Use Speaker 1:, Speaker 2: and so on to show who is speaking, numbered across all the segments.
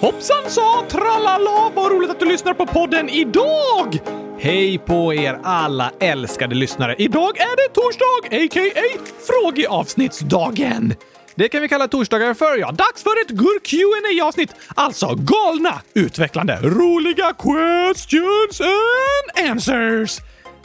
Speaker 1: Hoppsan sa tralala, vad roligt att du lyssnar på podden idag! Hej på er alla älskade lyssnare! Idag är det torsdag, a.k.a. frågeavsnittsdagen. Det kan vi kalla torsdagar för, ja. Dags för ett gur qa avsnitt Alltså galna, utvecklande, roliga questions and answers.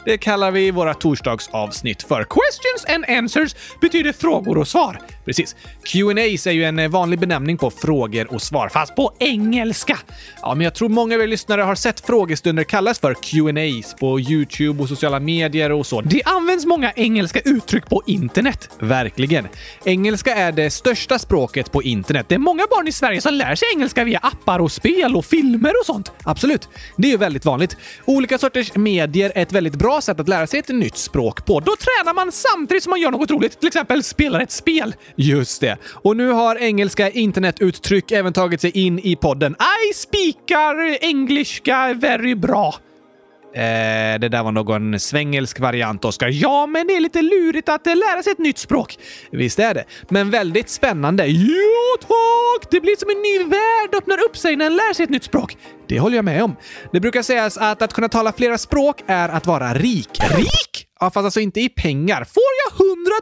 Speaker 1: Det kallar vi våra torsdagsavsnitt för. Questions and answers betyder frågor och svar. Precis. Q&As är ju en vanlig benämning på frågor och svar, fast på engelska. Ja, men jag tror många av er lyssnare har sett frågestunder kallas för Q&As på YouTube och sociala medier och så. Det används många engelska uttryck på internet. Verkligen. Engelska är det största språket på internet. Det är många barn i Sverige som lär sig engelska via appar och spel och filmer och sånt. Absolut. Det är ju väldigt vanligt. Olika sorters medier är ett väldigt bra sätt att lära sig ett nytt språk på. Då tränar man samtidigt som man gör något roligt, till exempel spelar ett spel. Just det. Och nu har engelska internetuttryck även tagit sig in i podden. I speakar engelska very bra. Eh, det där var någon svengelsk variant, Oskar. Ja, men det är lite lurigt att eh, lära sig ett nytt språk. Visst är det, men väldigt spännande. Jo tack! Det blir som en ny värld öppnar upp sig när en lär sig ett nytt språk. Det håller jag med om. Det brukar sägas att att kunna tala flera språk är att vara rik. Rik? Ja, fast alltså inte i pengar. Får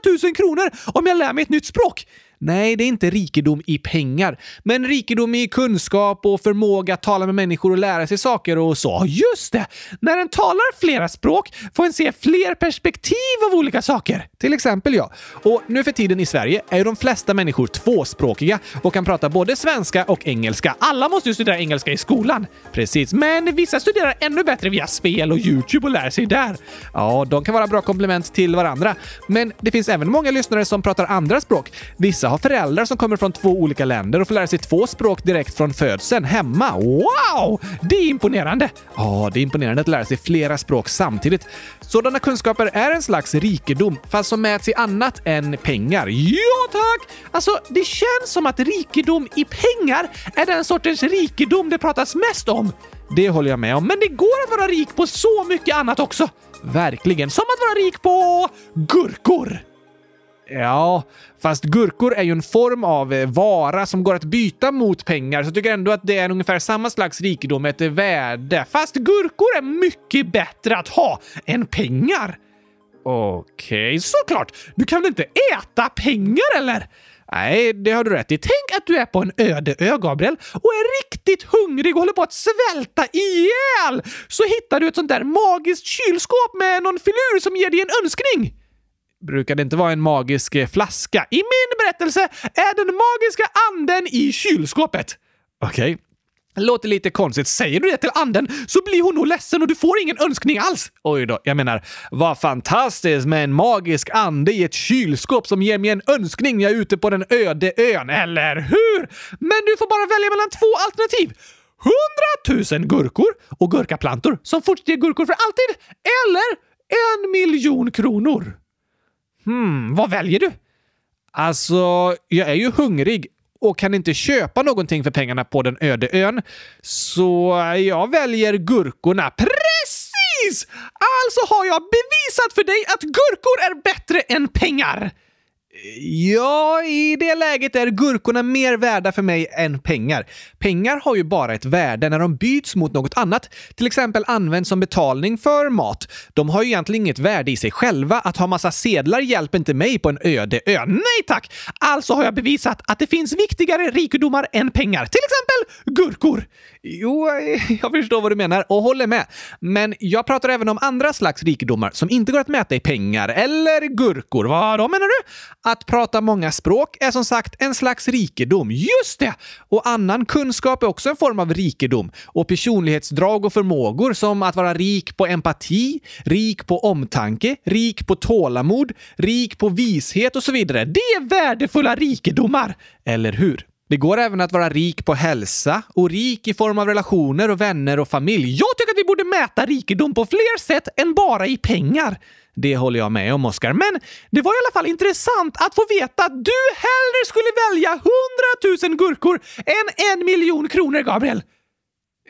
Speaker 1: jag 100 000 kronor om jag lär mig ett nytt språk? Nej, det är inte rikedom i pengar, men rikedom i kunskap och förmåga att tala med människor och lära sig saker och så. Just det! När en talar flera språk får en se fler perspektiv av olika saker. Till exempel jag. Och nu för tiden i Sverige är ju de flesta människor tvåspråkiga och kan prata både svenska och engelska. Alla måste ju studera engelska i skolan. Precis, men vissa studerar ännu bättre via spel och YouTube och lär sig där. Ja, de kan vara bra komplement till varandra. Men det finns även många lyssnare som pratar andra språk. Vissa har föräldrar som kommer från två olika länder och får lära sig två språk direkt från födseln hemma. Wow! Det är imponerande! Ja, det är imponerande att lära sig flera språk samtidigt. Sådana kunskaper är en slags rikedom, fast som mäts i annat än pengar. Ja, tack! Alltså, det känns som att rikedom i pengar är den sortens rikedom det pratas mest om. Det håller jag med om, men det går att vara rik på så mycket annat också. Verkligen. Som att vara rik på gurkor. Ja, fast gurkor är ju en form av eh, vara som går att byta mot pengar, så jag tycker ändå att det är ungefär samma slags rikedom, ett värde. Fast gurkor är mycket bättre att ha än pengar. Okej, såklart. Du kan väl inte äta pengar eller? Nej, det har du rätt i. Tänk att du är på en öde ö, Gabriel, och är riktigt hungrig och håller på att svälta ihjäl! Så hittar du ett sånt där magiskt kylskåp med någon filur som ger dig en önskning. Brukar det inte vara en magisk eh, flaska? I min berättelse är den magiska anden i kylskåpet. Okej. Låter lite konstigt. Säger du det till anden så blir hon nog ledsen och du får ingen önskning alls. Oj då, jag menar, vad fantastiskt med en magisk ande i ett kylskåp som ger mig en önskning när jag är ute på den öde ön, eller hur? Men du får bara välja mellan två alternativ. 100 000 gurkor och gurkaplantor som fortsätter ge gurkor för alltid, eller en miljon kronor. Hmm, vad väljer du? Alltså, jag är ju hungrig och kan inte köpa någonting för pengarna på den öde ön. Så jag väljer gurkorna. Precis! Alltså har jag bevisat för dig att gurkor är bättre än pengar! Ja, i det läget är gurkorna mer värda för mig än pengar. Pengar har ju bara ett värde när de byts mot något annat, till exempel används som betalning för mat. De har ju egentligen inget värde i sig själva. Att ha massa sedlar hjälper inte mig på en öde ö. Nej tack! Alltså har jag bevisat att det finns viktigare rikedomar än pengar, till exempel gurkor. Jo, eh, jag förstår vad du menar och håller med. Men jag pratar även om andra slags rikedomar som inte går att mäta i pengar eller gurkor. Vad då menar du? Att prata många språk är som sagt en slags rikedom. Just det! Och annan kunskap är också en form av rikedom. Och personlighetsdrag och förmågor som att vara rik på empati, rik på omtanke, rik på tålamod, rik på vishet och så vidare. Det är värdefulla rikedomar, eller hur? Det går även att vara rik på hälsa och rik i form av relationer och vänner och familj. Jag tycker att vi borde mäta rikedom på fler sätt än bara i pengar. Det håller jag med om, Oskar. Men det var i alla fall intressant att få veta att du hellre skulle välja 100 000 gurkor än en miljon kronor, Gabriel.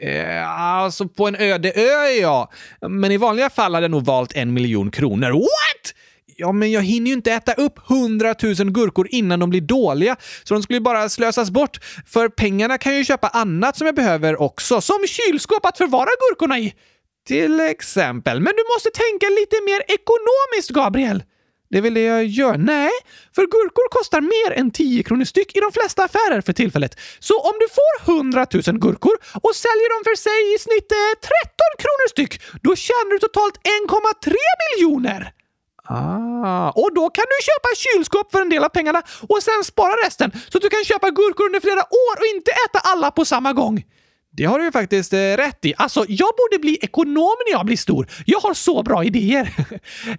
Speaker 1: Eh, alltså på en öde ö, ja. Men i vanliga fall hade jag nog valt en miljon kronor. What? Ja, men jag hinner ju inte äta upp 100 000 gurkor innan de blir dåliga, så de skulle ju bara slösas bort. För pengarna kan jag ju köpa annat som jag behöver också, som kylskåp att förvara gurkorna i. Till exempel. Men du måste tänka lite mer ekonomiskt, Gabriel. Det är väl det jag gör? Nej, för gurkor kostar mer än 10 kronor styck i de flesta affärer för tillfället. Så om du får 100 000 gurkor och säljer dem för sig i snitt eh, 13 kronor styck, då tjänar du totalt 1,3 miljoner! Ah, och då kan du köpa kylskåp för en del av pengarna och sen spara resten så att du kan köpa gurkor under flera år och inte äta alla på samma gång. Det har du ju faktiskt eh, rätt i. Alltså, jag borde bli ekonom när jag blir stor. Jag har så bra idéer.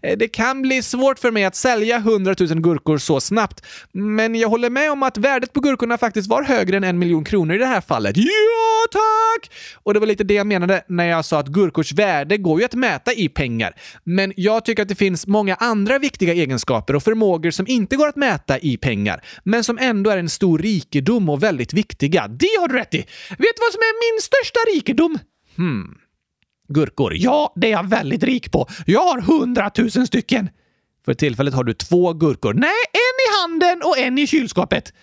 Speaker 1: Eh, det kan bli svårt för mig att sälja 100 000 gurkor så snabbt, men jag håller med om att värdet på gurkorna faktiskt var högre än en miljon kronor i det här fallet. Ja, tack! Och det var lite det jag menade när jag sa att gurkors värde går ju att mäta i pengar. Men jag tycker att det finns många andra viktiga egenskaper och förmågor som inte går att mäta i pengar, men som ändå är en stor rikedom och väldigt viktiga. Det har du rätt i! Vet du vad som är min största rikedom? Hmm. Gurkor. Ja, det är jag väldigt rik på. Jag har hundratusen stycken. För tillfället har du två gurkor. Nej, en i handen och en i kylskåpet.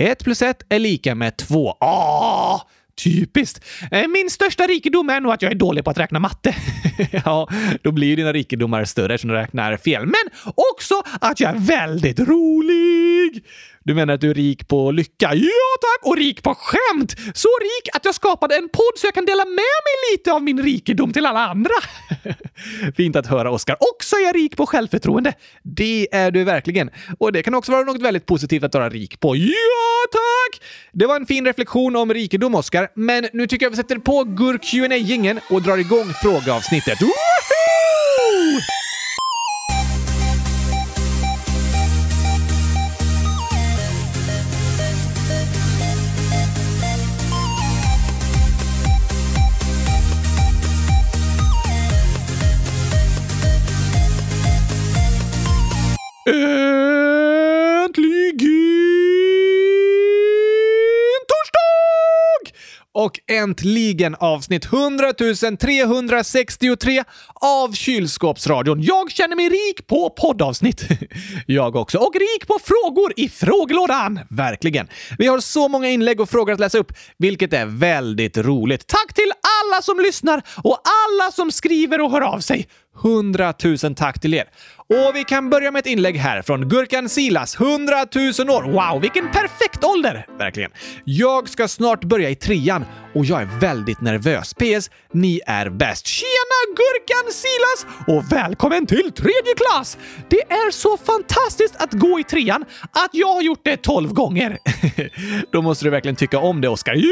Speaker 1: Ett plus ett är lika med två. Ah, typiskt. Eh, Min största rikedom är nog att jag är dålig på att räkna matte. ja, då blir ju dina rikedomar större eftersom du räknar fel. Men också att jag är väldigt rolig. Du menar att du är rik på lycka? Ja tack! Och rik på skämt! Så rik att jag skapade en podd så jag kan dela med mig lite av min rikedom till alla andra. Fint att höra, Oskar. Också är jag rik på självförtroende. Det är du verkligen. Och det kan också vara något väldigt positivt att vara rik på. Ja tack! Det var en fin reflektion om rikedom, Oskar. Men nu tycker jag vi sätter på gurk qa gingen och drar igång frågeavsnittet. Woohoo! Äntligen torsdag! Och äntligen avsnitt 100 363 av Kylskåpsradion. Jag känner mig rik på poddavsnitt. Jag också. Och rik på frågor i frågelådan. Verkligen. Vi har så många inlägg och frågor att läsa upp, vilket är väldigt roligt. Tack till alla som lyssnar och alla som skriver och hör av sig. 100 000 tack till er. Och vi kan börja med ett inlägg här från Gurkan Silas, 100 000 år. Wow, vilken perfekt ålder! Verkligen. Jag ska snart börja i trean och jag är väldigt nervös. PS. Ni är bäst. Tjena Gurkan Silas och välkommen till tredje klass! Det är så fantastiskt att gå i trean att jag har gjort det 12 gånger. Då måste du verkligen tycka om det, Oskar. Ja,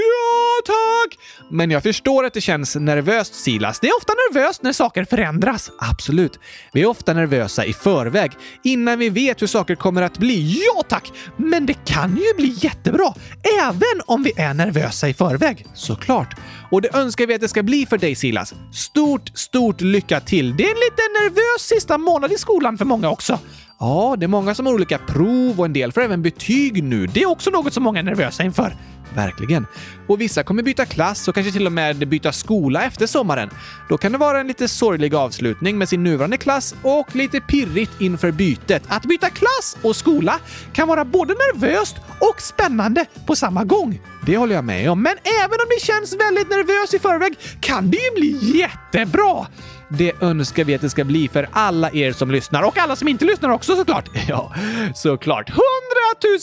Speaker 1: tack! Men jag förstår att det känns nervöst, Silas. Det är ofta nervöst när saker förändras. Absolut. Vi är ofta nervösa i förväg, innan vi vet hur saker kommer att bli. Ja, tack! Men det kan ju bli jättebra, även om vi är nervösa i förväg. Såklart. Och det önskar vi att det ska bli för dig, Silas. Stort, stort lycka till! Det är en lite nervös sista månad i skolan för många också. Ja, det är många som har olika prov och en del får även betyg nu. Det är också något som många är nervösa inför. Verkligen. Och vissa kommer byta klass och kanske till och med byta skola efter sommaren. Då kan det vara en lite sorglig avslutning med sin nuvarande klass och lite pirrigt inför bytet. Att byta klass och skola kan vara både nervöst och spännande på samma gång. Det håller jag med om, men även om det känns väldigt nervös i förväg kan det ju bli jättebra. Det önskar vi att det ska bli för alla er som lyssnar och alla som inte lyssnar också såklart. Ja, såklart. 100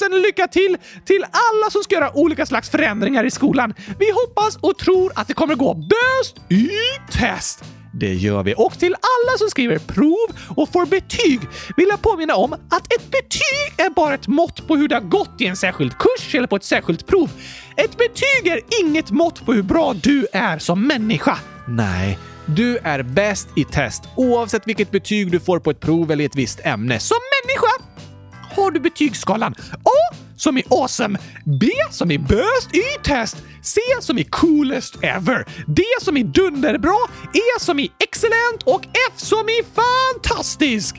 Speaker 1: 000 lycka till till alla som ska göra olika slags förändringar i skolan. Vi hoppas och tror att det kommer gå bäst i test. Det gör vi. Och till alla som skriver prov och får betyg vill jag påminna om att ett betyg är bara ett mått på hur det har gått i en särskild kurs eller på ett särskilt prov. Ett betyg är inget mått på hur bra du är som människa. Nej. Du är bäst i test oavsett vilket betyg du får på ett prov eller i ett visst ämne. Som människa har du betygsskalan A som i awesome, B som i bäst i test, C som är coolest ever, D som är dunderbra, E som är excellent och F som är fantastisk!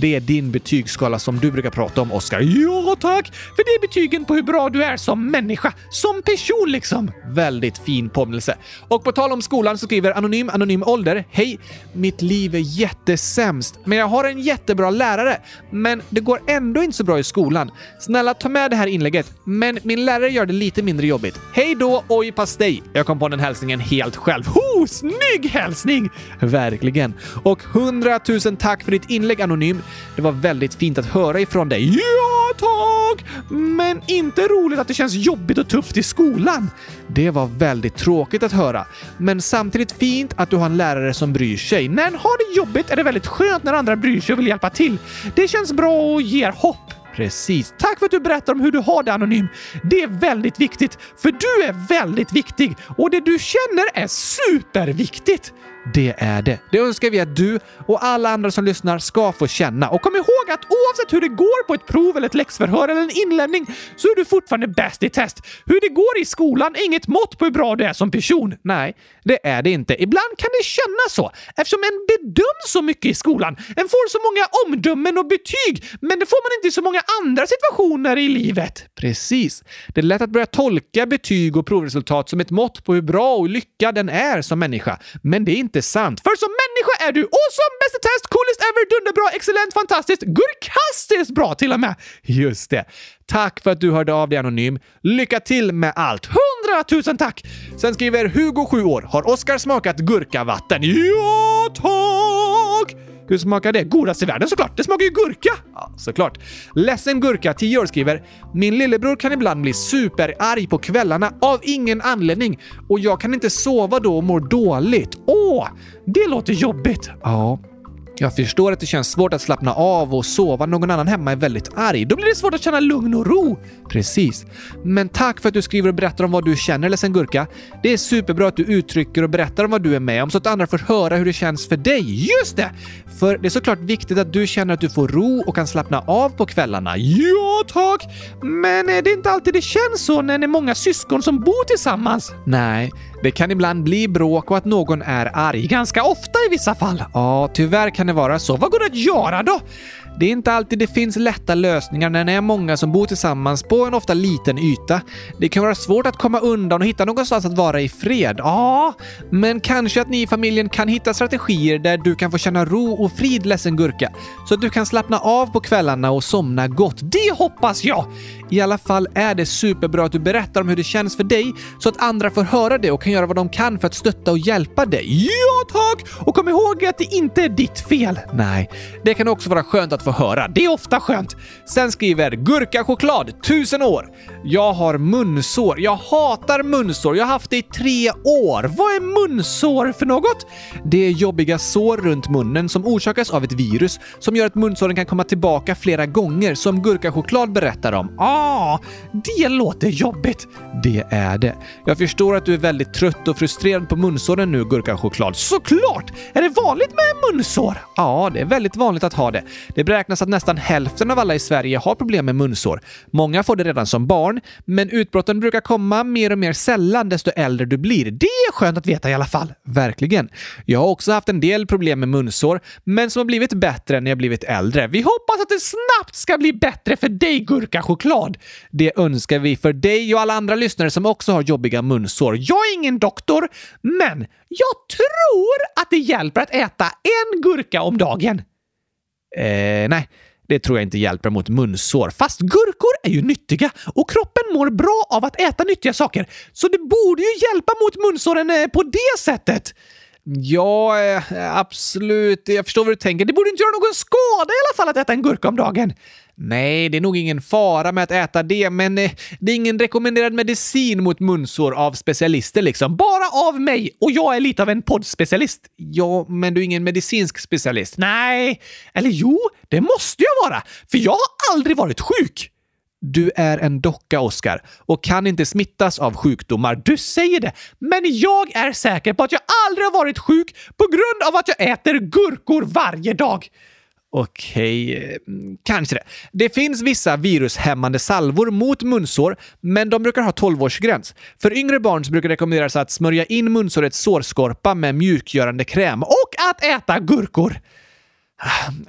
Speaker 1: Det är din betygsskala som du brukar prata om, Oskar. Ja, tack! För det är betygen på hur bra du är som människa, som person liksom. Väldigt fin påminnelse. Och på tal om skolan så skriver Anonym Anonym Ålder, Hej! Mitt liv är jättesämst, men jag har en jättebra lärare. Men det går ändå inte så bra i skolan. Snälla ta med det här inlägget, men min lärare gör det lite mindre jobbigt. Hej då, oj pastej! Jag kom på den hälsningen helt själv. Ho, snygg hälsning! Verkligen. Och hundratusen tack för ditt inlägg Anonym. Det var väldigt fint att höra ifrån dig. Ja, tack! Men inte roligt att det känns jobbigt och tufft i skolan. Det var väldigt tråkigt att höra, men samtidigt fint att du har en lärare som bryr sig. När en har det jobbigt är det väldigt skönt när andra bryr sig och vill hjälpa till. Det känns bra och ger hopp. Precis. Tack för att du berättar om hur du har det anonym. Det är väldigt viktigt, för du är väldigt viktig och det du känner är superviktigt. Det är det. Det önskar vi att du och alla andra som lyssnar ska få känna. Och kom ihåg att oavsett hur det går på ett prov eller ett läxförhör eller en inlämning så är du fortfarande bäst i test. Hur det går i skolan är inget mått på hur bra du är som person. Nej, det är det inte. Ibland kan det kännas så eftersom en bedöms så mycket i skolan. En får så många omdömen och betyg, men det får man inte i så många andra situationer i livet. Precis. Det är lätt att börja tolka betyg och provresultat som ett mått på hur bra och lyckad den är som människa. Men det är inte sant. För som människa är du awesome, bäst i test, coolest ever, dunderbra, excellent, fantastiskt, gurkastiskt bra till och med. Just det. Tack för att du hörde av dig anonym. Lycka till med allt! Hundratusen tack! Sen skriver Hugo, 7 år, har Oskar smakat gurkavatten? Ja, tack! Hur smakar det? Godast i världen såklart! Det smakar ju gurka! Ja, såklart. Ledsen Gurka, 10 år, skriver “Min lillebror kan ibland bli superarg på kvällarna av ingen anledning och jag kan inte sova då och mår dåligt. Åh, det låter jobbigt!” Ja. Jag förstår att det känns svårt att slappna av och sova när någon annan hemma är väldigt arg. Då blir det svårt att känna lugn och ro. Precis. Men tack för att du skriver och berättar om vad du känner, ledsen Gurka. Det är superbra att du uttrycker och berättar om vad du är med om så att andra får höra hur det känns för dig. Just det! För det är såklart viktigt att du känner att du får ro och kan slappna av på kvällarna. Ja, tack! Men är det inte alltid det känns så när det är många syskon som bor tillsammans? Nej, det kan ibland bli bråk och att någon är arg. Ganska ofta i vissa fall. Ja, tyvärr kan det vara så. Vad går det att göra då? Det är inte alltid det finns lätta lösningar när det är många som bor tillsammans på en ofta liten yta. Det kan vara svårt att komma undan och hitta någonstans att vara i fred. Ja, men kanske att ni i familjen kan hitta strategier där du kan få känna ro och frid, ledsen Gurka. Så att du kan slappna av på kvällarna och somna gott. Det hoppas jag! I alla fall är det superbra att du berättar om hur det känns för dig så att andra får höra det och kan göra vad de kan för att stötta och hjälpa dig. Ja, tack! Och kom ihåg att det inte är ditt fel. Nej, det kan också vara skönt att få höra. Det är ofta skönt. Sen skriver Gurka Choklad, tusen år. Jag har munsår. Jag hatar munsår. Jag har haft det i tre år. Vad är munsår för något? Det är jobbiga sår runt munnen som orsakas av ett virus som gör att munsåren kan komma tillbaka flera gånger som Gurka Choklad berättar om. Ah, det låter jobbigt. Det är det. Jag förstår att du är väldigt trött och frustrerad på munsåren nu, Gurka Choklad. Såklart! Är det vanligt med munsår? Ja, det är väldigt vanligt att ha det. Det beräknas att nästan hälften av alla i Sverige har problem med munsår. Många får det redan som barn, men utbrotten brukar komma mer och mer sällan desto äldre du blir. Det är skönt att veta i alla fall. Verkligen. Jag har också haft en del problem med munsår, men som har blivit bättre när jag blivit äldre. Vi hoppas att det snabbt ska bli bättre för dig, Gurka Choklad. Det önskar vi för dig och alla andra lyssnare som också har jobbiga munsår. Jag är ingen doktor, men jag tror att det hjälper att äta en gurka om dagen. Eh, nej, det tror jag inte hjälper mot munsår. Fast gurkor är ju nyttiga och kroppen mår bra av att äta nyttiga saker. Så det borde ju hjälpa mot munsåren eh, på det sättet. Ja, eh, absolut. Jag förstår vad du tänker. Det borde inte göra någon skada i alla fall att äta en gurka om dagen. Nej, det är nog ingen fara med att äta det, men eh, det är ingen rekommenderad medicin mot munsår av specialister liksom. Bara av mig, och jag är lite av en poddspecialist. Ja, men du är ingen medicinsk specialist. Nej, eller jo, det måste jag vara, för jag har aldrig varit sjuk. Du är en docka, Oscar, och kan inte smittas av sjukdomar. Du säger det, men jag är säker på att jag aldrig har varit sjuk på grund av att jag äter gurkor varje dag. Okej, eh, kanske det. Det finns vissa virushämmande salvor mot munsår, men de brukar ha 12-årsgräns. För yngre barn så brukar det rekommenderas att smörja in munsårets sårskorpa med mjukgörande kräm och att äta gurkor.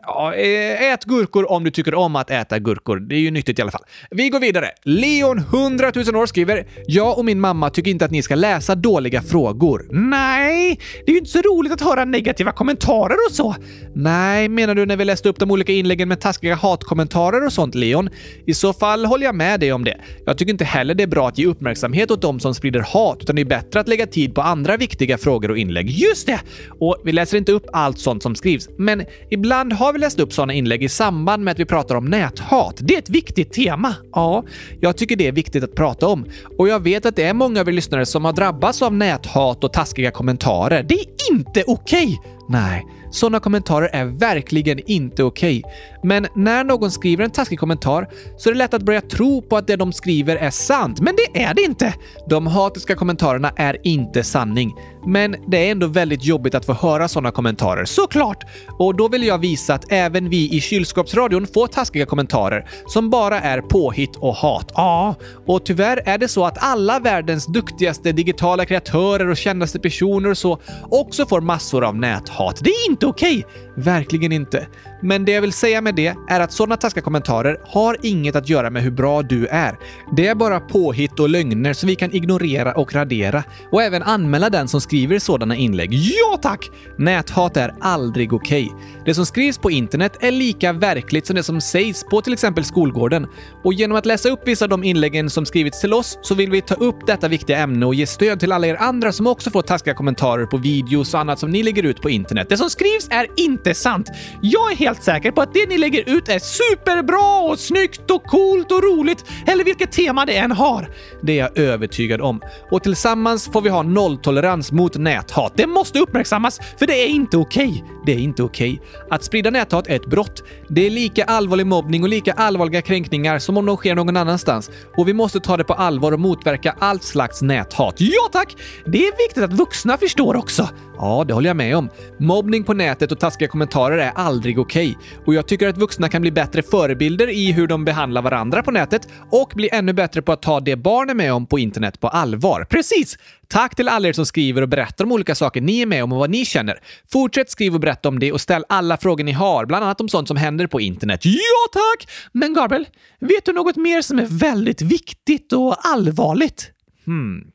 Speaker 1: Ja, eh, ät gurkor om du tycker om att äta gurkor. Det är ju nyttigt i alla fall. Vi går vidare. Leon, 100 000 år, skriver “Jag och min mamma tycker inte att ni ska läsa dåliga frågor.” Nej, det är ju inte så roligt att höra negativa kommentarer och så. Nej, menar du när vi läste upp de olika inläggen med taskiga hatkommentarer och sånt, Leon? I så fall håller jag med dig om det. Jag tycker inte heller det är bra att ge uppmärksamhet åt de som sprider hat, utan det är bättre att lägga tid på andra viktiga frågor och inlägg. Just det! Och vi läser inte upp allt sånt som skrivs, men ibland har vi läst upp såna inlägg i samband med att vi pratar om näthat. Det är ett viktigt tema. Ja, jag tycker det är viktigt att prata om. Och jag vet att det är många av er lyssnare som har drabbats av näthat och taskiga kommentarer. Det är inte okej! Nej, sådana kommentarer är verkligen inte okej. Men när någon skriver en taskig kommentar så är det lätt att börja tro på att det de skriver är sant. Men det är det inte! De hatiska kommentarerna är inte sanning. Men det är ändå väldigt jobbigt att få höra sådana kommentarer, såklart! Och då vill jag visa att även vi i kylskåpsradion får taskiga kommentarer som bara är påhitt och hat. Ja, och tyvärr är det så att alla världens duktigaste digitala kreatörer och kändaste personer och så också får massor av näthat. Det är inte okej! Verkligen inte. Men det jag vill säga med det är att sådana taskiga kommentarer har inget att göra med hur bra du är. Det är bara påhitt och lögner som vi kan ignorera och radera och även anmäla den som skriver sådana inlägg. Ja tack! Näthat är aldrig okej. Det som skrivs på internet är lika verkligt som det som sägs på till exempel skolgården. Och genom att läsa upp vissa av de inläggen som skrivits till oss så vill vi ta upp detta viktiga ämne och ge stöd till alla er andra som också får taskiga kommentarer på videos och annat som ni lägger ut på internet. Det som skrivs är inte sant. Jag är helt säker på att det ni lägger ut är superbra och snyggt och coolt och roligt, eller vilket tema det än har. Det är jag övertygad om. Och tillsammans får vi ha nolltolerans mot näthat. Det måste uppmärksammas, för det är inte okej. Det är inte okej. Att sprida näthat är ett brott. Det är lika allvarlig mobbning och lika allvarliga kränkningar som om de sker någon annanstans. Och vi måste ta det på allvar och motverka allt slags näthat. Ja tack! Det är viktigt att vuxna förstår också. Ja, det håller jag med om. Mobbning på nätet och taskiga kommentarer är aldrig okej. Och jag tycker att vuxna kan bli bättre förebilder i hur de behandlar varandra på nätet och bli ännu bättre på att ta det barn är med om på internet på allvar. Precis! Tack till alla er som skriver och berättar om olika saker ni är med om och vad ni känner. Fortsätt skriva och berätta om det och ställ alla frågor ni har, bland annat om sånt som händer på internet. Ja, tack! Men Gabriel, vet du något mer som är väldigt viktigt och allvarligt? Hmm.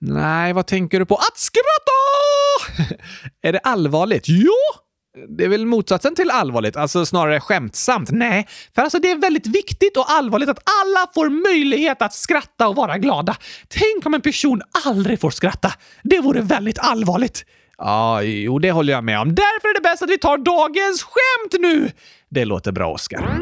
Speaker 1: Nej, vad tänker du på? Att skratta! är det allvarligt? Ja! Det är väl motsatsen till allvarligt, alltså snarare skämtsamt. Nej, för alltså det är väldigt viktigt och allvarligt att alla får möjlighet att skratta och vara glada. Tänk om en person aldrig får skratta. Det vore väldigt allvarligt. Ja, jo, det håller jag med om. Därför är det bäst att vi tar dagens skämt nu! Det låter bra, Oskar.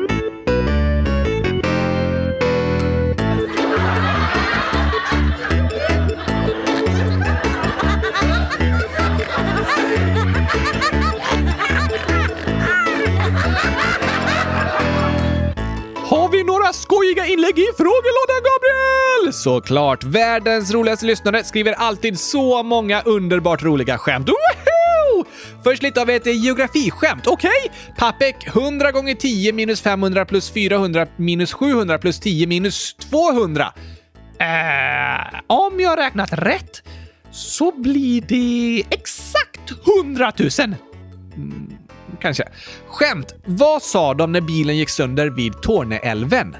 Speaker 1: Har vi några skojiga inlägg i frågelådan, Gabriel? Såklart! Världens roligaste lyssnare skriver alltid så många underbart roliga skämt. Woho! Först lite av ett geografiskämt. Okej? Papek 100 gånger 10 minus 500 plus 400 minus 700 plus 10 minus 200. Eh, om jag räknat rätt så blir det exakt 100 000 kanske. Skämt! Vad sa de när bilen gick sönder vid Torneälven?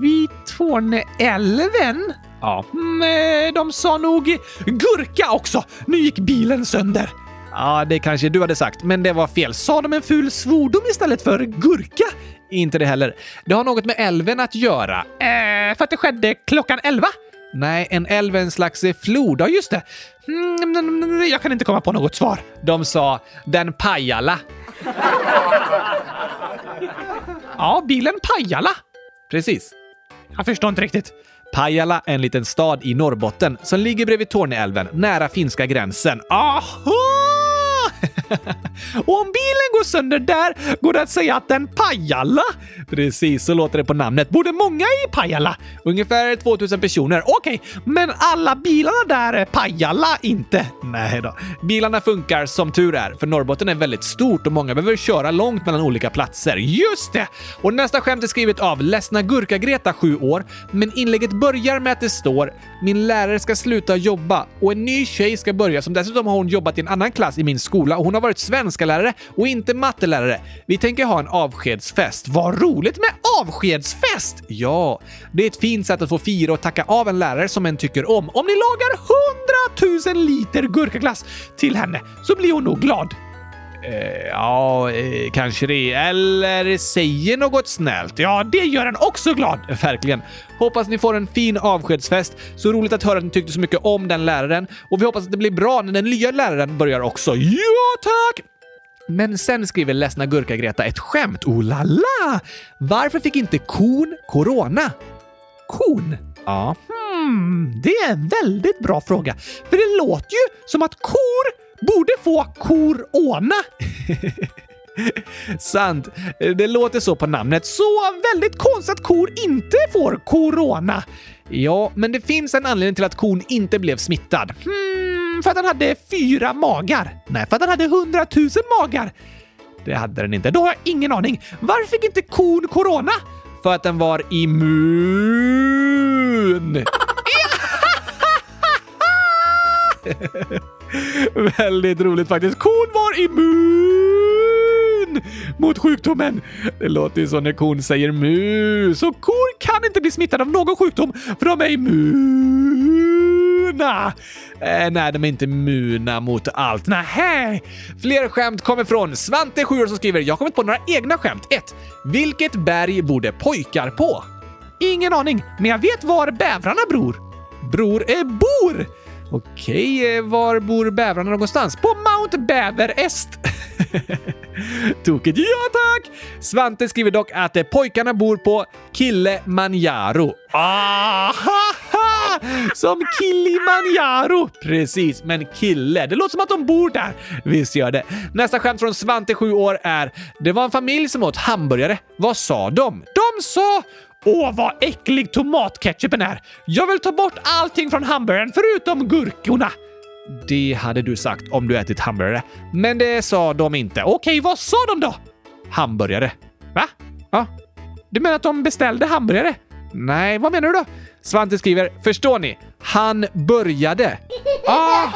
Speaker 1: Vid Torneälven? Ja. Mm, eh, de sa nog gurka också. Nu gick bilen sönder. Ja, det kanske du hade sagt, men det var fel. Sa de en ful svordom istället för gurka? Inte det heller. Det har något med älven att göra. Eh, för att det skedde klockan elva? Nej, en älv är en slags flod. Ja, just det. Mm, jag kan inte komma på något svar. De sa “den Pajala”. ja, bilen Pajala. Precis. Jag förstår inte riktigt. Pajala är en liten stad i Norrbotten som ligger bredvid Torneälven, nära finska gränsen. Aha! Och om bilen går sönder där går det att säga att den Pajala. Precis, så låter det på namnet. Bor det många i Pajala? Ungefär 2000 personer. Okej, men alla bilarna där är Pajala inte? Nej då. Bilarna funkar som tur är, för Norrbotten är väldigt stort och många behöver köra långt mellan olika platser. Just det! Och nästa skämt är skrivet av Ledsna Gurka-Greta, 7 år, men inlägget börjar med att det står “Min lärare ska sluta jobba och en ny tjej ska börja som dessutom har hon jobbat i en annan klass i min skola och hon har varit svenskalärare och inte mattelärare. Vi tänker ha en avskedsfest. Vad roligt med avskedsfest! Ja, det är ett fint sätt att få fira och tacka av en lärare som en tycker om. Om ni lagar 100 000 liter gurkaglass till henne så blir hon nog glad. Eh, ja, eh, kanske det. Eller säger något snällt. Ja, det gör en också glad. Verkligen. Hoppas ni får en fin avskedsfest. Så roligt att höra att ni tyckte så mycket om den läraren. Och vi hoppas att det blir bra när den nya läraren börjar också. Ja, tack! Men sen skriver ledsna Gurka-Greta ett skämt. Oh la la! Varför fick inte kon corona? Kon? Ja. Hmm, det är en väldigt bra fråga. För det låter ju som att kor borde få korona. Sant. Det låter så på namnet. Så väldigt konstigt att kor inte får corona. Ja, men det finns en anledning till att kon inte blev smittad. Hmm, för att den hade fyra magar. Nej, för att den hade hundratusen magar. Det hade den inte. Då har jag ingen aning. Varför fick inte kon corona? För att den var immun. Väldigt roligt faktiskt. Kon var immun mot sjukdomen. Det låter ju så när kon säger mu. Så kor kan inte bli smittade av någon sjukdom för de är immuna. Eh, nej, de är inte immuna mot allt. Nähä! Fler skämt kommer från Svante, 7 år, som skriver “Jag har kommit på några egna skämt. 1. Vilket berg borde pojkar på?” Ingen aning, men jag vet var bävrarna bror. Bror är bor! Okej, eh, var bor bävrarna någonstans? På Mount Bäverest! Tokigt. Ja, tack! Svante skriver dock att eh, pojkarna bor på Kilimanjaro. Ahaha! Som Kilimanjaro! Precis, men kille. Det låter som att de bor där. Visst gör det. Nästa skämt från Svante, 7 år, är Det var en familj som åt hamburgare. Vad sa de? De sa Åh, vad äcklig tomatketchupen är! Jag vill ta bort allting från hamburgaren förutom gurkorna! Det hade du sagt om du ätit hamburgare, men det sa de inte. Okej, vad sa de då? Hamburgare. Va? Ja. Du menar att de beställde hamburgare? Nej, vad menar du då? Svante skriver, förstår ni? Han började. Aha!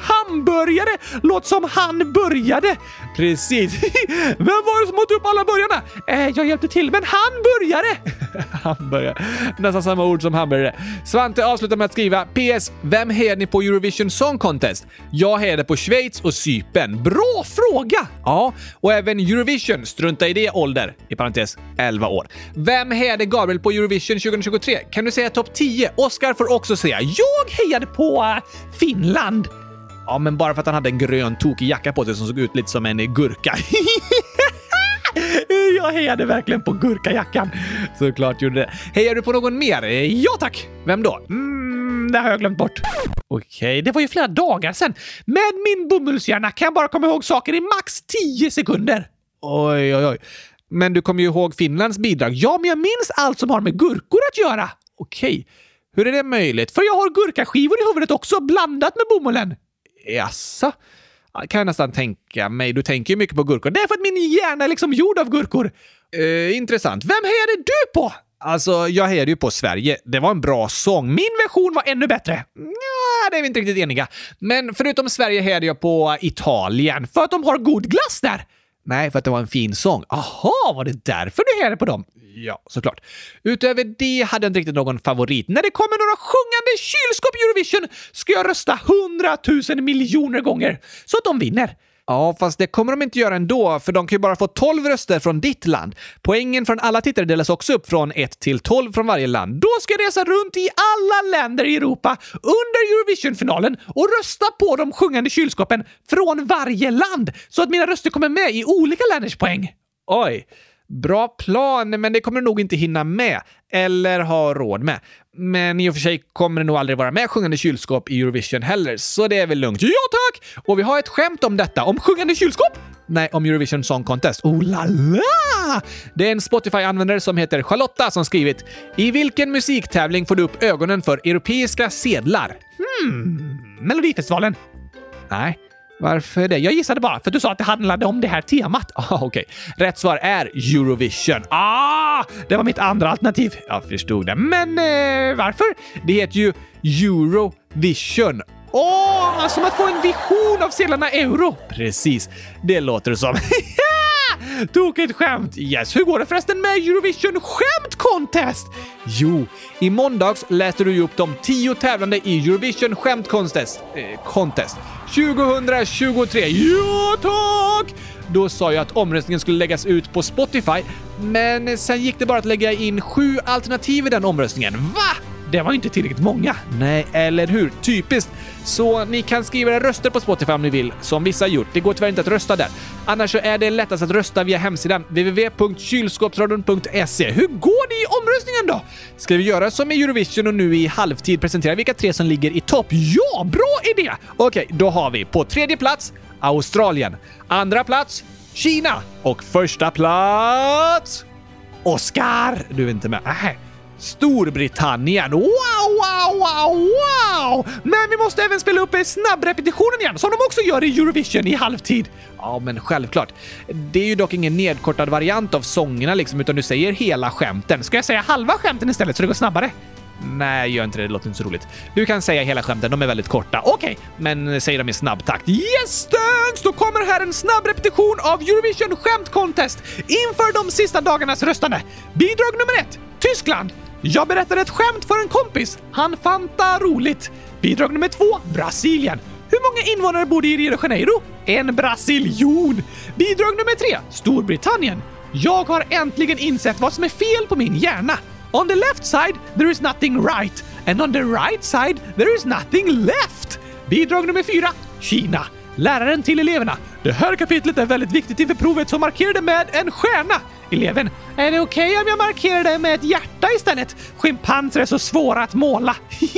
Speaker 1: Hamburgare! Låt som han började! Precis. Vem var det som åt upp alla burgarna? Eh, jag hjälpte till, men han började! han började. Nästan samma ord som hamburgare. Svante avslutar med att skriva PS. Vem hejar ni på Eurovision Song Contest? Jag hejade på Schweiz och Cypern. Bra fråga! Ja, och även Eurovision. Strunta i det ålder. I parentes 11 år. Vem hejade Gabriel på Eurovision 2023? Kan du säga topp 10? Oscar får också säga. Jag hejade på eh, Finland. Ja, men bara för att han hade en grön tokig jacka på sig som såg ut lite som en gurka. Jag hejade verkligen på gurkajackan. Såklart gjorde det. Hejar du på någon mer? Eh, Ja tack! Vem då? Mm, det har jag glömt bort. Okej, det var ju flera dagar sedan. Med min bomullshjärna kan jag bara komma ihåg saker i max 10 sekunder. Oj, oj, oj. Men du kommer ju ihåg Finlands bidrag. Ja, men jag minns allt som har med gurkor att göra. Okej. Hur är det möjligt? För jag har gurkaskivor i huvudet också, blandat med bomullen. Jaså? Ja, Kan jag nästan tänka mig. Du tänker ju mycket på gurkor. Det är för att min hjärna är liksom gjord av gurkor. Eh, intressant. Vem hejade du på? Alltså, jag hejade ju på Sverige. Det var en bra sång. Min version var ännu bättre. Nja, det är vi inte riktigt eniga. Men förutom Sverige hejade jag på Italien, för att de har god glass där. Nej, för att det var en fin sång. Aha, var det därför du hejade på dem? Ja, såklart. Utöver det hade jag inte riktigt någon favorit. När det kommer några sjungande kylskåp i Eurovision ska jag rösta hundratusen miljoner gånger så att de vinner. Ja, fast det kommer de inte göra ändå, för de kan ju bara få 12 röster från ditt land. Poängen från alla tittare delas också upp från 1 till 12 från varje land. Då ska jag resa runt i alla länder i Europa under Eurovision-finalen och rösta på de sjungande kylskåpen från varje land så att mina röster kommer med i olika länders poäng. Oj. Bra plan, men det kommer du nog inte hinna med eller ha råd med. Men i och för sig kommer det nog aldrig vara med sjungande kylskåp i Eurovision heller, så det är väl lugnt. Ja tack! Och vi har ett skämt om detta. Om sjungande kylskåp? Nej, om Eurovision Song Contest. Oh la la! Det är en Spotify-användare som heter Charlotta som skrivit “I vilken musiktävling får du upp ögonen för europeiska sedlar?” Hmm, Melodifestivalen? Nej. Varför det? Jag gissade bara, för du sa att det handlade om det här temat. Ah, Okej. Rätt svar är Eurovision. Ah! Det var mitt andra alternativ. Jag förstod det. Men eh, varför? Det heter ju Eurovision. Åh, som att få en vision av sedlarna euro! Precis. Det låter som. Tokigt skämt! Yes, hur går det förresten med Eurovision Skämt Contest? Jo, i måndags läste du ju upp de tio tävlande i Eurovision Skämt Contest, eh, contest 2023. Ja, tack! Då sa jag att omröstningen skulle läggas ut på Spotify, men sen gick det bara att lägga in sju alternativ i den omröstningen. Va? Det var inte tillräckligt många. Nej, eller hur? Typiskt. Så ni kan skriva era röster på Spotify om ni vill, som vissa gjort. Det går tyvärr inte att rösta där. Annars så är det lättast att rösta via hemsidan www.kylskåpsradion.se. Hur går det i omröstningen då? Ska vi göra som i Eurovision och nu i halvtid presentera vilka tre som ligger i topp? Ja, bra idé! Okej, då har vi på tredje plats Australien, andra plats Kina och första plats Oscar! Du är inte med. Nej. Storbritannien. Wow, wow, wow, wow! Men vi måste även spela upp eh, snabbrepetitionen igen, som de också gör i Eurovision i halvtid. Ja, men självklart. Det är ju dock ingen nedkortad variant av sångerna liksom, utan du säger hela skämten. Ska jag säga halva skämten istället så det går snabbare? Nej, gör inte det. Det låter inte så roligt. Du kan säga hela skämten, de är väldigt korta. Okej, men säg dem i snabb takt. Yes, thanks! Då kommer här en snabb repetition av Eurovision Skämt Contest inför de sista dagarnas röstande. Bidrag nummer ett, Tyskland. Jag berättade ett skämt för en kompis. Han fann det roligt. Bidrag nummer två, Brasilien. Hur många invånare bor det i Rio de Janeiro? En brasiljon! Bidrag nummer tre, Storbritannien. Jag har äntligen insett vad som är fel på min hjärna. On the left side there is nothing right and on the right side there is nothing left. Bidrag nummer fyra, Kina. Läraren till eleverna. Det här kapitlet är väldigt viktigt inför provet så markera det med en stjärna. Eleven. Är det okej om jag markerar det med ett hjärta istället? Schimpanser är så svåra att måla.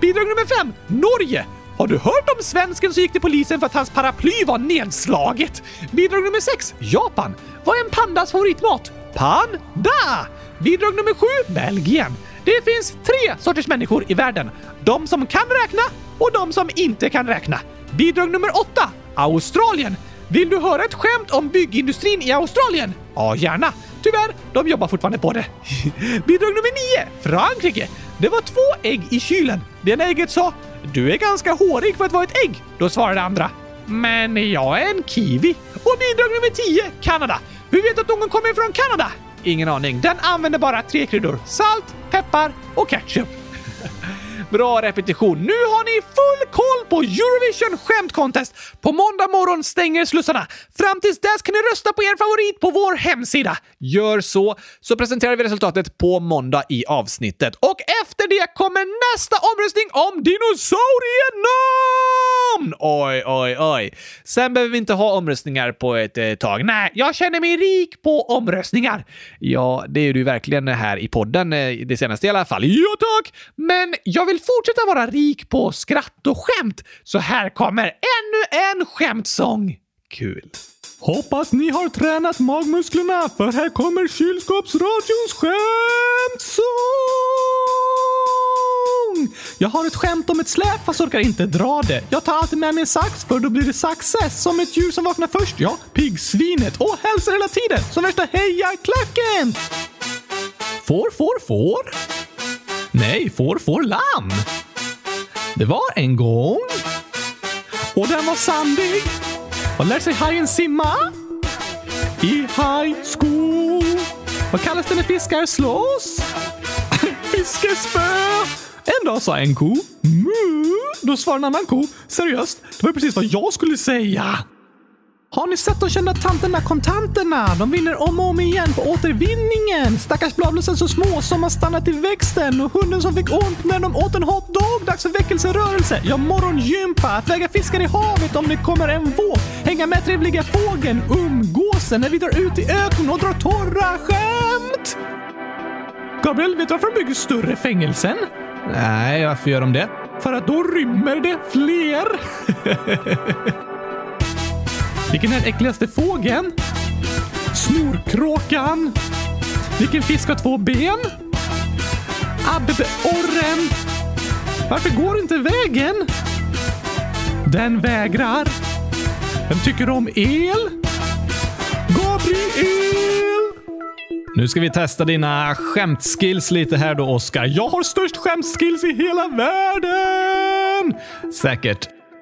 Speaker 1: Bidrag nummer fem, Norge. Har du hört om svensken som gick till polisen för att hans paraply var nedslaget? Bidrag nummer 6. Japan. Vad är en pandas favoritmat? Panda! Bidrag nummer 7. Belgien. Det finns tre sorters människor i världen. De som kan räkna och de som inte kan räkna. Bidrag nummer 8. Australien. Vill du höra ett skämt om byggindustrin i Australien? Ja, gärna. Tyvärr, de jobbar fortfarande på det. Bidrag nummer 9. Frankrike. Det var två ägg i kylen. Det ena ägget sa “Du är ganska hårig för att vara ett ägg”. Då svarade det andra “Men jag är en kiwi”. Och bidrag nummer 10. Kanada. Hur vet du att någon kommer från Kanada? Ingen aning. Den använder bara tre kryddor. Salt, peppar och ketchup. Bra repetition. Nu har ni full koll på Eurovision Skämt Contest. På måndag morgon stänger slussarna. Fram tills dess kan ni rösta på er favorit på vår hemsida. Gör så, så presenterar vi resultatet på måndag i avsnittet. Och efter det kommer nästa omröstning om dinosaurienamn! Oj, oj, oj. Sen behöver vi inte ha omröstningar på ett eh, tag. Nej, jag känner mig rik på omröstningar. Ja, det är du verkligen här i podden, eh, det senaste i alla fall. Ja, tack! Men jag vill fortsätta vara rik på skratt och skämt, så här kommer ännu en skämtsång. Kul. Hoppas ni har tränat magmusklerna, för här kommer kylskåpsradions skämtsång! Jag har ett skämt om ett släp fast orkar inte dra det. Jag tar alltid med mig en sax för då blir det success. Som ett djur som vaknar först, ja, piggsvinet. Och hälsar hela tiden som värsta hejaklacken! Får, får, får? Nej, får, får lamm. Det var en gång. Och den var sandig. Vad lär sig hajen simma? I high school. Vad kallas det när fiskar slåss? Fiskespö! En dag sa en ko "Mm, mu. Då svarade en annan ko seriöst, det var ju precis vad jag skulle säga. Har ni sett de kända tanterna kontanterna? De vinner om och om igen på återvinningen. Stackars bladlösen så små som har stannat i växten och hunden som fick ont när de åt en hotdog. Dags för väckelserörelse. Ja, morgongympa. Att väga fiskar i havet om det kommer en våg. Hänga med trevliga fågeln. Umgåsen när vi drar ut i öknen och drar torra skämt. Gabriel, vet du varför de bygger större fängelsen? Nej, varför gör de det? För att då rymmer det fler. Vilken är den äckligaste fågeln? Snorkråkan. Vilken fisk har två ben? Abborren. Varför går inte vägen? Den vägrar. Den tycker om el. Gabriel! Nu ska vi testa dina skämtskills lite här då, Oskar. Jag har störst skämtskills i hela världen! Säkert.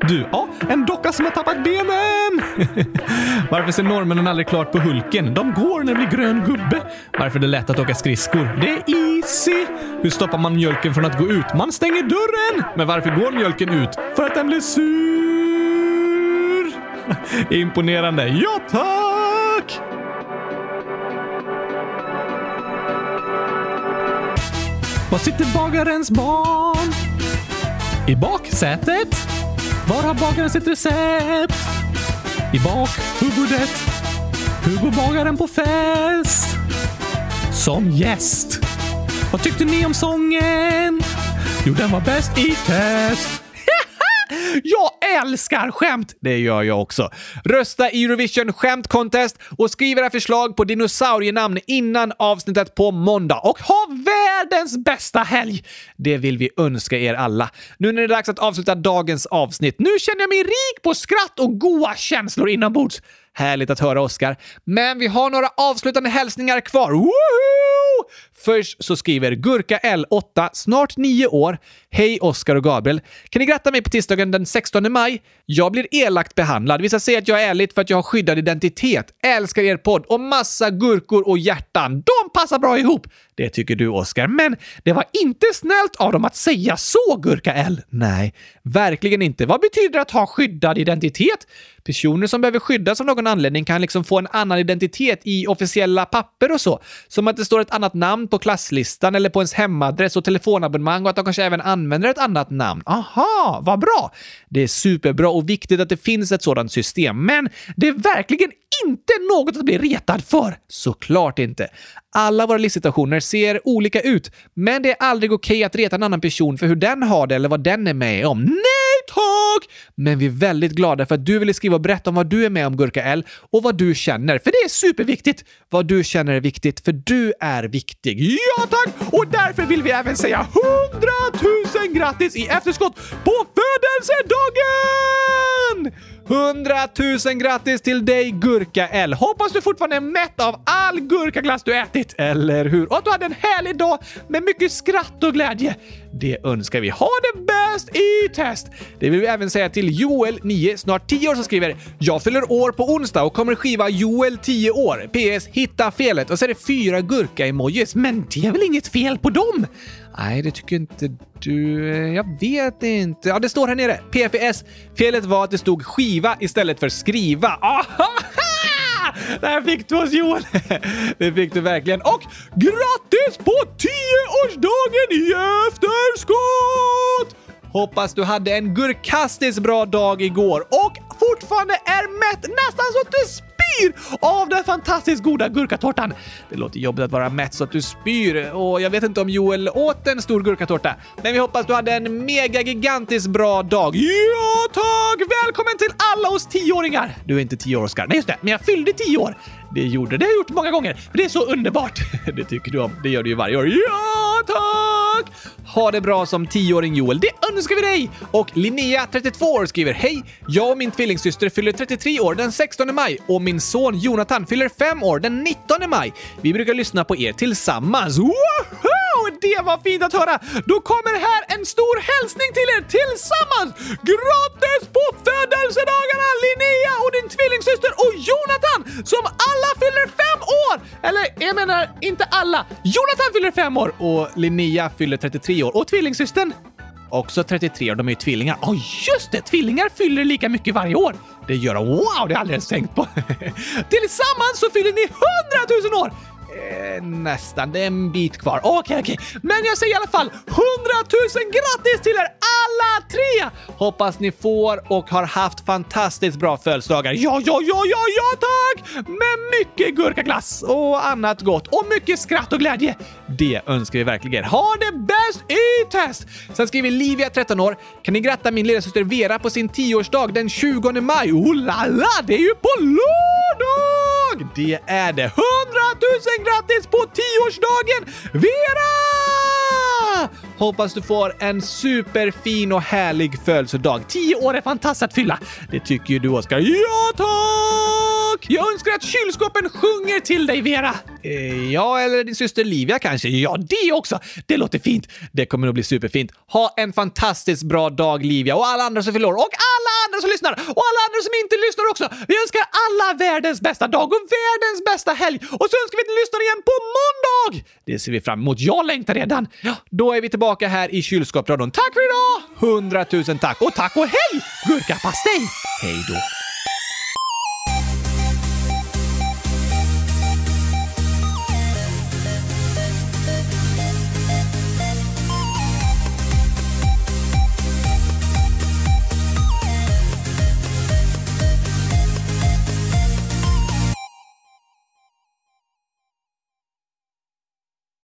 Speaker 1: Du, ja, en docka som har tappat benen! Varför ser norrmännen aldrig klart på Hulken? De går när det blir grön gubbe. Varför är det lätt att åka skridskor? Det är easy! Hur stoppar man mjölken från att gå ut? Man stänger dörren! Men varför går mjölken ut? För att den blir sur! Imponerande. Ja, tack! Var sitter bagarens barn? I baksätet? Var har bagaren sitt recept? I bakhuvudet. Hugo bagaren på fest. Som gäst. Vad tyckte ni om sången? Jo, den var bäst i test. Jag älskar skämt! Det gör jag också. Rösta i Eurovision Skämt Contest och skriv era förslag på dinosaurienamn innan avsnittet på måndag. Och ha världens bästa helg! Det vill vi önska er alla. Nu när det är dags att avsluta dagens avsnitt. Nu känner jag mig rik på skratt och goa känslor inombords. Härligt att höra, Oskar. Men vi har några avslutande hälsningar kvar. Woohoo! Först så skriver Gurka L8, snart nio år. Hej Oskar och Gabriel. Kan ni gratta mig på tisdagen den 16 maj? Jag blir elakt behandlad. Vissa säger att jag är ärligt för att jag har skyddad identitet. Älskar er podd och massa gurkor och hjärtan. De passar bra ihop! Det tycker du, Oskar. Men det var inte snällt av dem att säga så, Gurka L. Nej, verkligen inte. Vad betyder det att ha skyddad identitet? Personer som behöver skyddas av någon anledning kan liksom få en annan identitet i officiella papper och så. Som att det står ett annat namn på klasslistan eller på ens hemadress och telefonabonnemang och att de kanske även använder ett annat namn. Aha, vad bra! Det är superbra och viktigt att det finns ett sådant system, men det är verkligen inte något att bli retad för. Såklart inte. Alla våra livssituationer ser olika ut, men det är aldrig okej att reta en annan person för hur den har det eller vad den är med om. Nej tack! Men vi är väldigt glada för att du ville skriva och berätta om vad du är med om, Gurka L, och vad du känner. För det är superviktigt! Vad du känner är viktigt, för du är viktig. Ja tack! Och därför vill vi även säga 100 000 grattis i efterskott på födelsedagen! 100 000 grattis till dig Gurka L! Hoppas du fortfarande är mätt av all gurkaglass du ätit, eller hur? Och att du hade en härlig dag med mycket skratt och glädje. Det önskar vi. Ha det bäst i test! Det vill vi även säga till Joel, 9, snart 10 år, som skriver “Jag fyller år på onsdag och kommer skiva Joel, 10 år. PS. Hitta felet” och så är det fyra gurka-emojis. Men det är väl inget fel på dem? Nej, det tycker inte du. Jag vet inte. Ja, det står här nere. PPS. Felet var att det stod skiva istället för skriva. Aha! Där fick du oss Joel! Det fick du verkligen. Och grattis på 10-årsdagen i efterskott! Hoppas du hade en gurkastiskt bra dag igår och fortfarande är mätt nästan så att du spyr av den fantastiskt goda gurkatårtan. Det låter jobbigt att vara mätt så att du spyr och jag vet inte om Joel åt en stor gurkatårta. Men vi hoppas du hade en mega gigantiskt bra dag. Ja tack! Välkommen till alla oss tioåringar! Du är inte tio år Oskar. Nej just det, men jag fyllde tio år. Det gjorde det har jag gjort många gånger. För det är så underbart. Det tycker du om. Det gör du ju varje år. Ja tack! Ha det bra som tioåring Joel. Det önskar vi dig! Och Linnea, 32 år, skriver Hej! Jag och min tvillingsyster fyller 33 år den 16 maj och min son Jonathan fyller 5 år den 19 maj. Vi brukar lyssna på er tillsammans. Woho! det var fint att höra! Då kommer här en stor hälsning till er tillsammans! Grattis på födelsedagarna Linnea och din tvillingsyster och Jonathan som alla fyller fem år! Eller jag menar inte alla. Jonathan fyller fem år och Linnea fyller 33 år och tvillingsystern Också 33 och de är ju tvillingar. Ja, just det! Tvillingar fyller lika mycket varje år. Det gör de. Wow, det har jag aldrig ens tänkt på. Tillsammans så fyller ni 100 000 år! Eh, nästan, det är en bit kvar. Okej, okej. Men jag säger i alla fall 100 000 grattis till er alla tre! Hoppas ni får och har haft fantastiskt bra födelsedagar. Ja, ja, ja, ja, ja, tack! Med mycket gurkaglass och annat gott och mycket skratt och glädje. Det önskar vi verkligen. Ha det bäst i test! Sen skriver Livia, 13 år. Kan ni gratta min lillasyster Vera på sin 10-årsdag den 20 maj? Oh la la, det är ju på lördag! Det är det! 100 000 grattis på 10-årsdagen Vera! Hoppas du får en superfin och härlig födelsedag. 10 år är fantastiskt att fylla. Det tycker ju du, Oskar. Ja, tack! Jag önskar att kylskåpen sjunger till dig, Vera. Eh, ja, eller din syster Livia kanske. Ja, det också. Det låter fint. Det kommer att bli superfint. Ha en fantastiskt bra dag, Livia, och alla andra som fyller år. Och alla andra som lyssnar! Och alla andra som inte lyssnar också! Vi önskar alla världens bästa dag och världens bästa helg! Och så önskar vi att ni lyssnar igen på måndag! Det ser vi fram emot. Jag längtar redan. Då är vi tillbaka här i kylskåpsradion. Tack för idag! 100 000 tack! Och tack och hej! Gurkapastej! Hej då!